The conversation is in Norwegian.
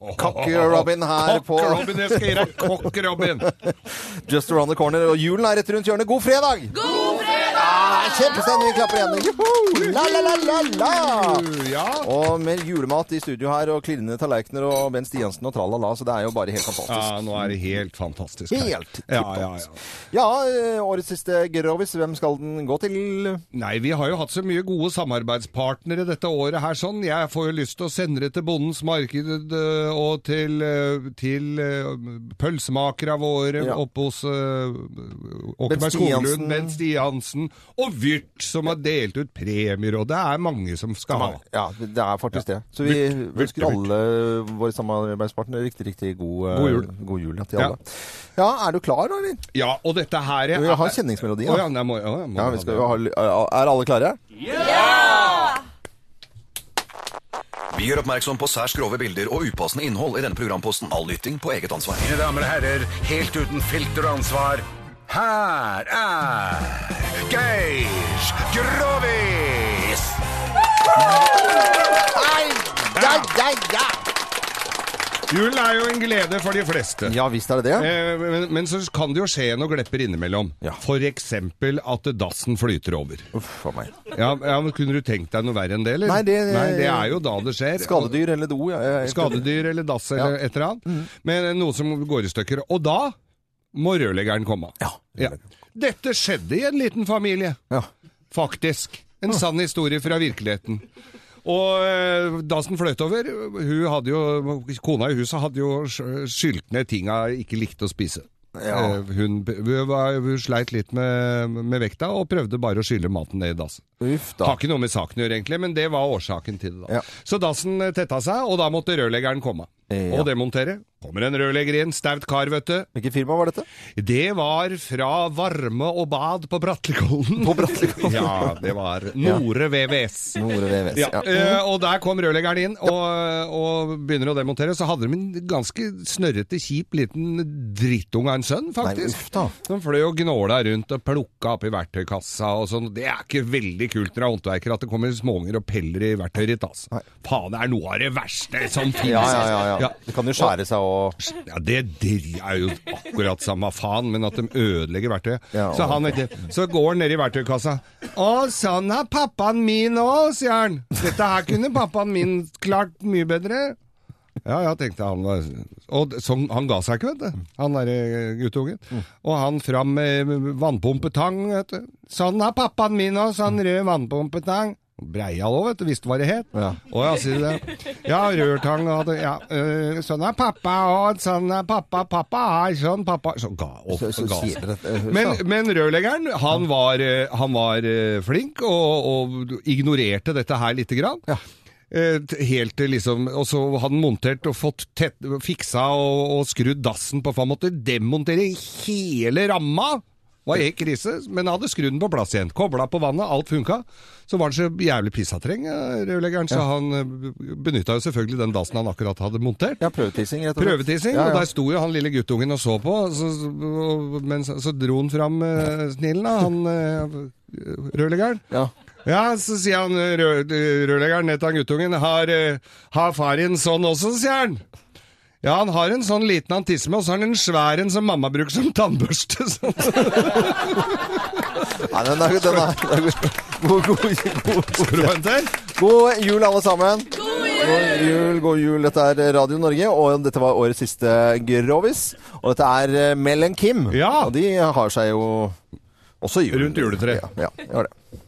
Kokk-Robin her på Kokk-Robin, jeg skal gi deg Kokk-Robin! Just Around the Corner. Og julen er rett rundt hjørnet. God fredag! God fredag! Ah, Kjempestemning! Vi klapper igjen. Juhu! La, la, la, la, la! Ja. Og med julemat i studio her, og klirrende tallerkener og Bent Stiansen og tralala, så det er jo bare helt ja, fantastisk. nå er det helt fantastisk. her. Helt altså. tipp ja, topp. ja, ja. ja, eh, årets siste grovis. Hvem skal den gå til? Nei, vi har jo hatt så mye gode samarbeidspartnere dette året her, sånn. Jeg får jo lyst til å sende det til Bondens Marked øh, og til, øh, til øh, pølsemakere våre Ja. oppe hos øh, Åkerberg Stiansen. Skoglund, Ben Stiansen, og Vyrt, som har delt ut premier, og det er mange som skal ha. Ja, det er faktisk det. Så vi ønsker alle våre samarbeidspartnere riktig, riktig god, eh, God jul. God jul ja, til Ja. alle. Ja, er du klar, eller? Ja, og dette her Vi har kjenningsmelodi. Å Ja. ja, nei, må, å, ja, må Ja, ha vi skal det. jo ha, er alle klare? Vi gjør oppmerksom på særs grove bilder og upassende innhold i denne programposten. All lytting på eget ansvar. Mine damer og herrer, helt uten filter og ansvar, her er Geir Grovis! Julen er jo en glede for de fleste. Ja visst er det det. Eh, Men, men så kan det jo skje noen glepper innimellom. Ja. For eksempel at dassen flyter over. Uff a meg. Ja, ja, men Kunne du tenkt deg noe verre enn det? eller? Nei, det- eh, er jo da det skjer. Skadedyr eller do? Ja, ja, ja. Skadedyr eller dass eller et eller Mm. annet. Men eh, noe som går i stykker. Og da må rørleggeren komme. Ja. Ja. Dette skjedde i en liten familie. Ja. Faktisk. En sann historie fra virkeligheten. Og eh, dassen fløt over. Hun hadde jo, kona i huset hadde jo sk- skylt ned tinga ikke likte å spise. Ja. Eh, Hun, hun, var, hun sleit litt med, med vekta og prøvde bare å skylle maten ned i dassen. Uff da. Har ikke noe med saken å gjøre, egentlig, men det var årsaken til det. da. Ja. Så dassen eh, tetta seg, og da måtte rørleggeren komme. Ja. Og demontere. Kommer en rørlegger inn, staut kar, vet du. Hvilket firma var dette? Det var fra varme og bad på Bratlekollen. På Bratlekollen. ja, det var Nore VVS. Nore VVS. Ja, Ja. eh, og der kom rørleggeren inn og, og begynner å demontere. Så hadde de en ganske snørrete, kjip liten drittunge av en sønn, Nei, faktisk. uff da. Som fløy og gnåla rundt og plukka opp i verktøykassa og sånn. Det er ikke veldig kult når det er håndverker at det kommer småunger og peller i verktøyet ditt, altså. Nei. Faen, det er noe av det verste som finnes. Ja, ja, ja, ja. Ja. Det kan jo skjære seg og Ja, det dri- er jo akkurat samme faen, men at de ødelegger verktøyet. Ja, så, han, vet du, så går han ned i verktøykassa. Å, sånn har pappaen min òg, sier han. Dette her kunne pappaen min klart mye bedre. Ja, ja, tenkte han. var- Og d- sånn, han ga seg ikke, vet du. Han derre guttungen. Mm. Og han fram med vannpumpetang, vet du. Sånn har pappaen min òg, Mm. sånn rød vannpumpetang. Breial òg, vet du, visste hva det het. Ja. Å ja, sier du det. Ja, rørtang og det- ja, øh, Sånn er pappa og sånn er pappa, pappa har sånn pappa Så ga opp. Så- så ga sier opp. det, eh, husk Men, da. men rørleggeren, han var, eh, han var eh, flink og, og ignorerte dette her lite grann. Ja. Eh, t- Helt til liksom Og så hadde han montert og fått tett, fiksa og, og skrudd dassen på, for han måtte demontere hele ramma. Var helt krise, men han hadde skrudd den på plass igjen. Kobla på vannet, alt funka. Så var han så jævlig pissatreng, eh, rørleggeren, så han benytta jo selvfølgelig den dassen han akkurat hadde montert. Ja, prøvetissing, rett og slett. Prøvetissing, Ja, ja. og der sto jo han lille guttungen og så på, så, og, men så, så dro han fram eh, snillen, da, han uh, rørleggeren. Ja. Ja, så sier han eh, rø eh, rørleggeren ned til han guttungen, har, eh, har far en sånn også, sier han. Ja, han har en sånn liten han tisser med, og så har han en svær en som mamma bruker som tannbørste. Så. Nei, den er, den er, den er god. God, god, god, god. god jul, alle sammen. God jul, god jul. Dette er Radio Norge, og dette var årets siste Grovis. Og dette er eh, Mel and Kim. Ja. Og de har seg jo også i jul. Rundt juletreet. Ja, ja, de har det.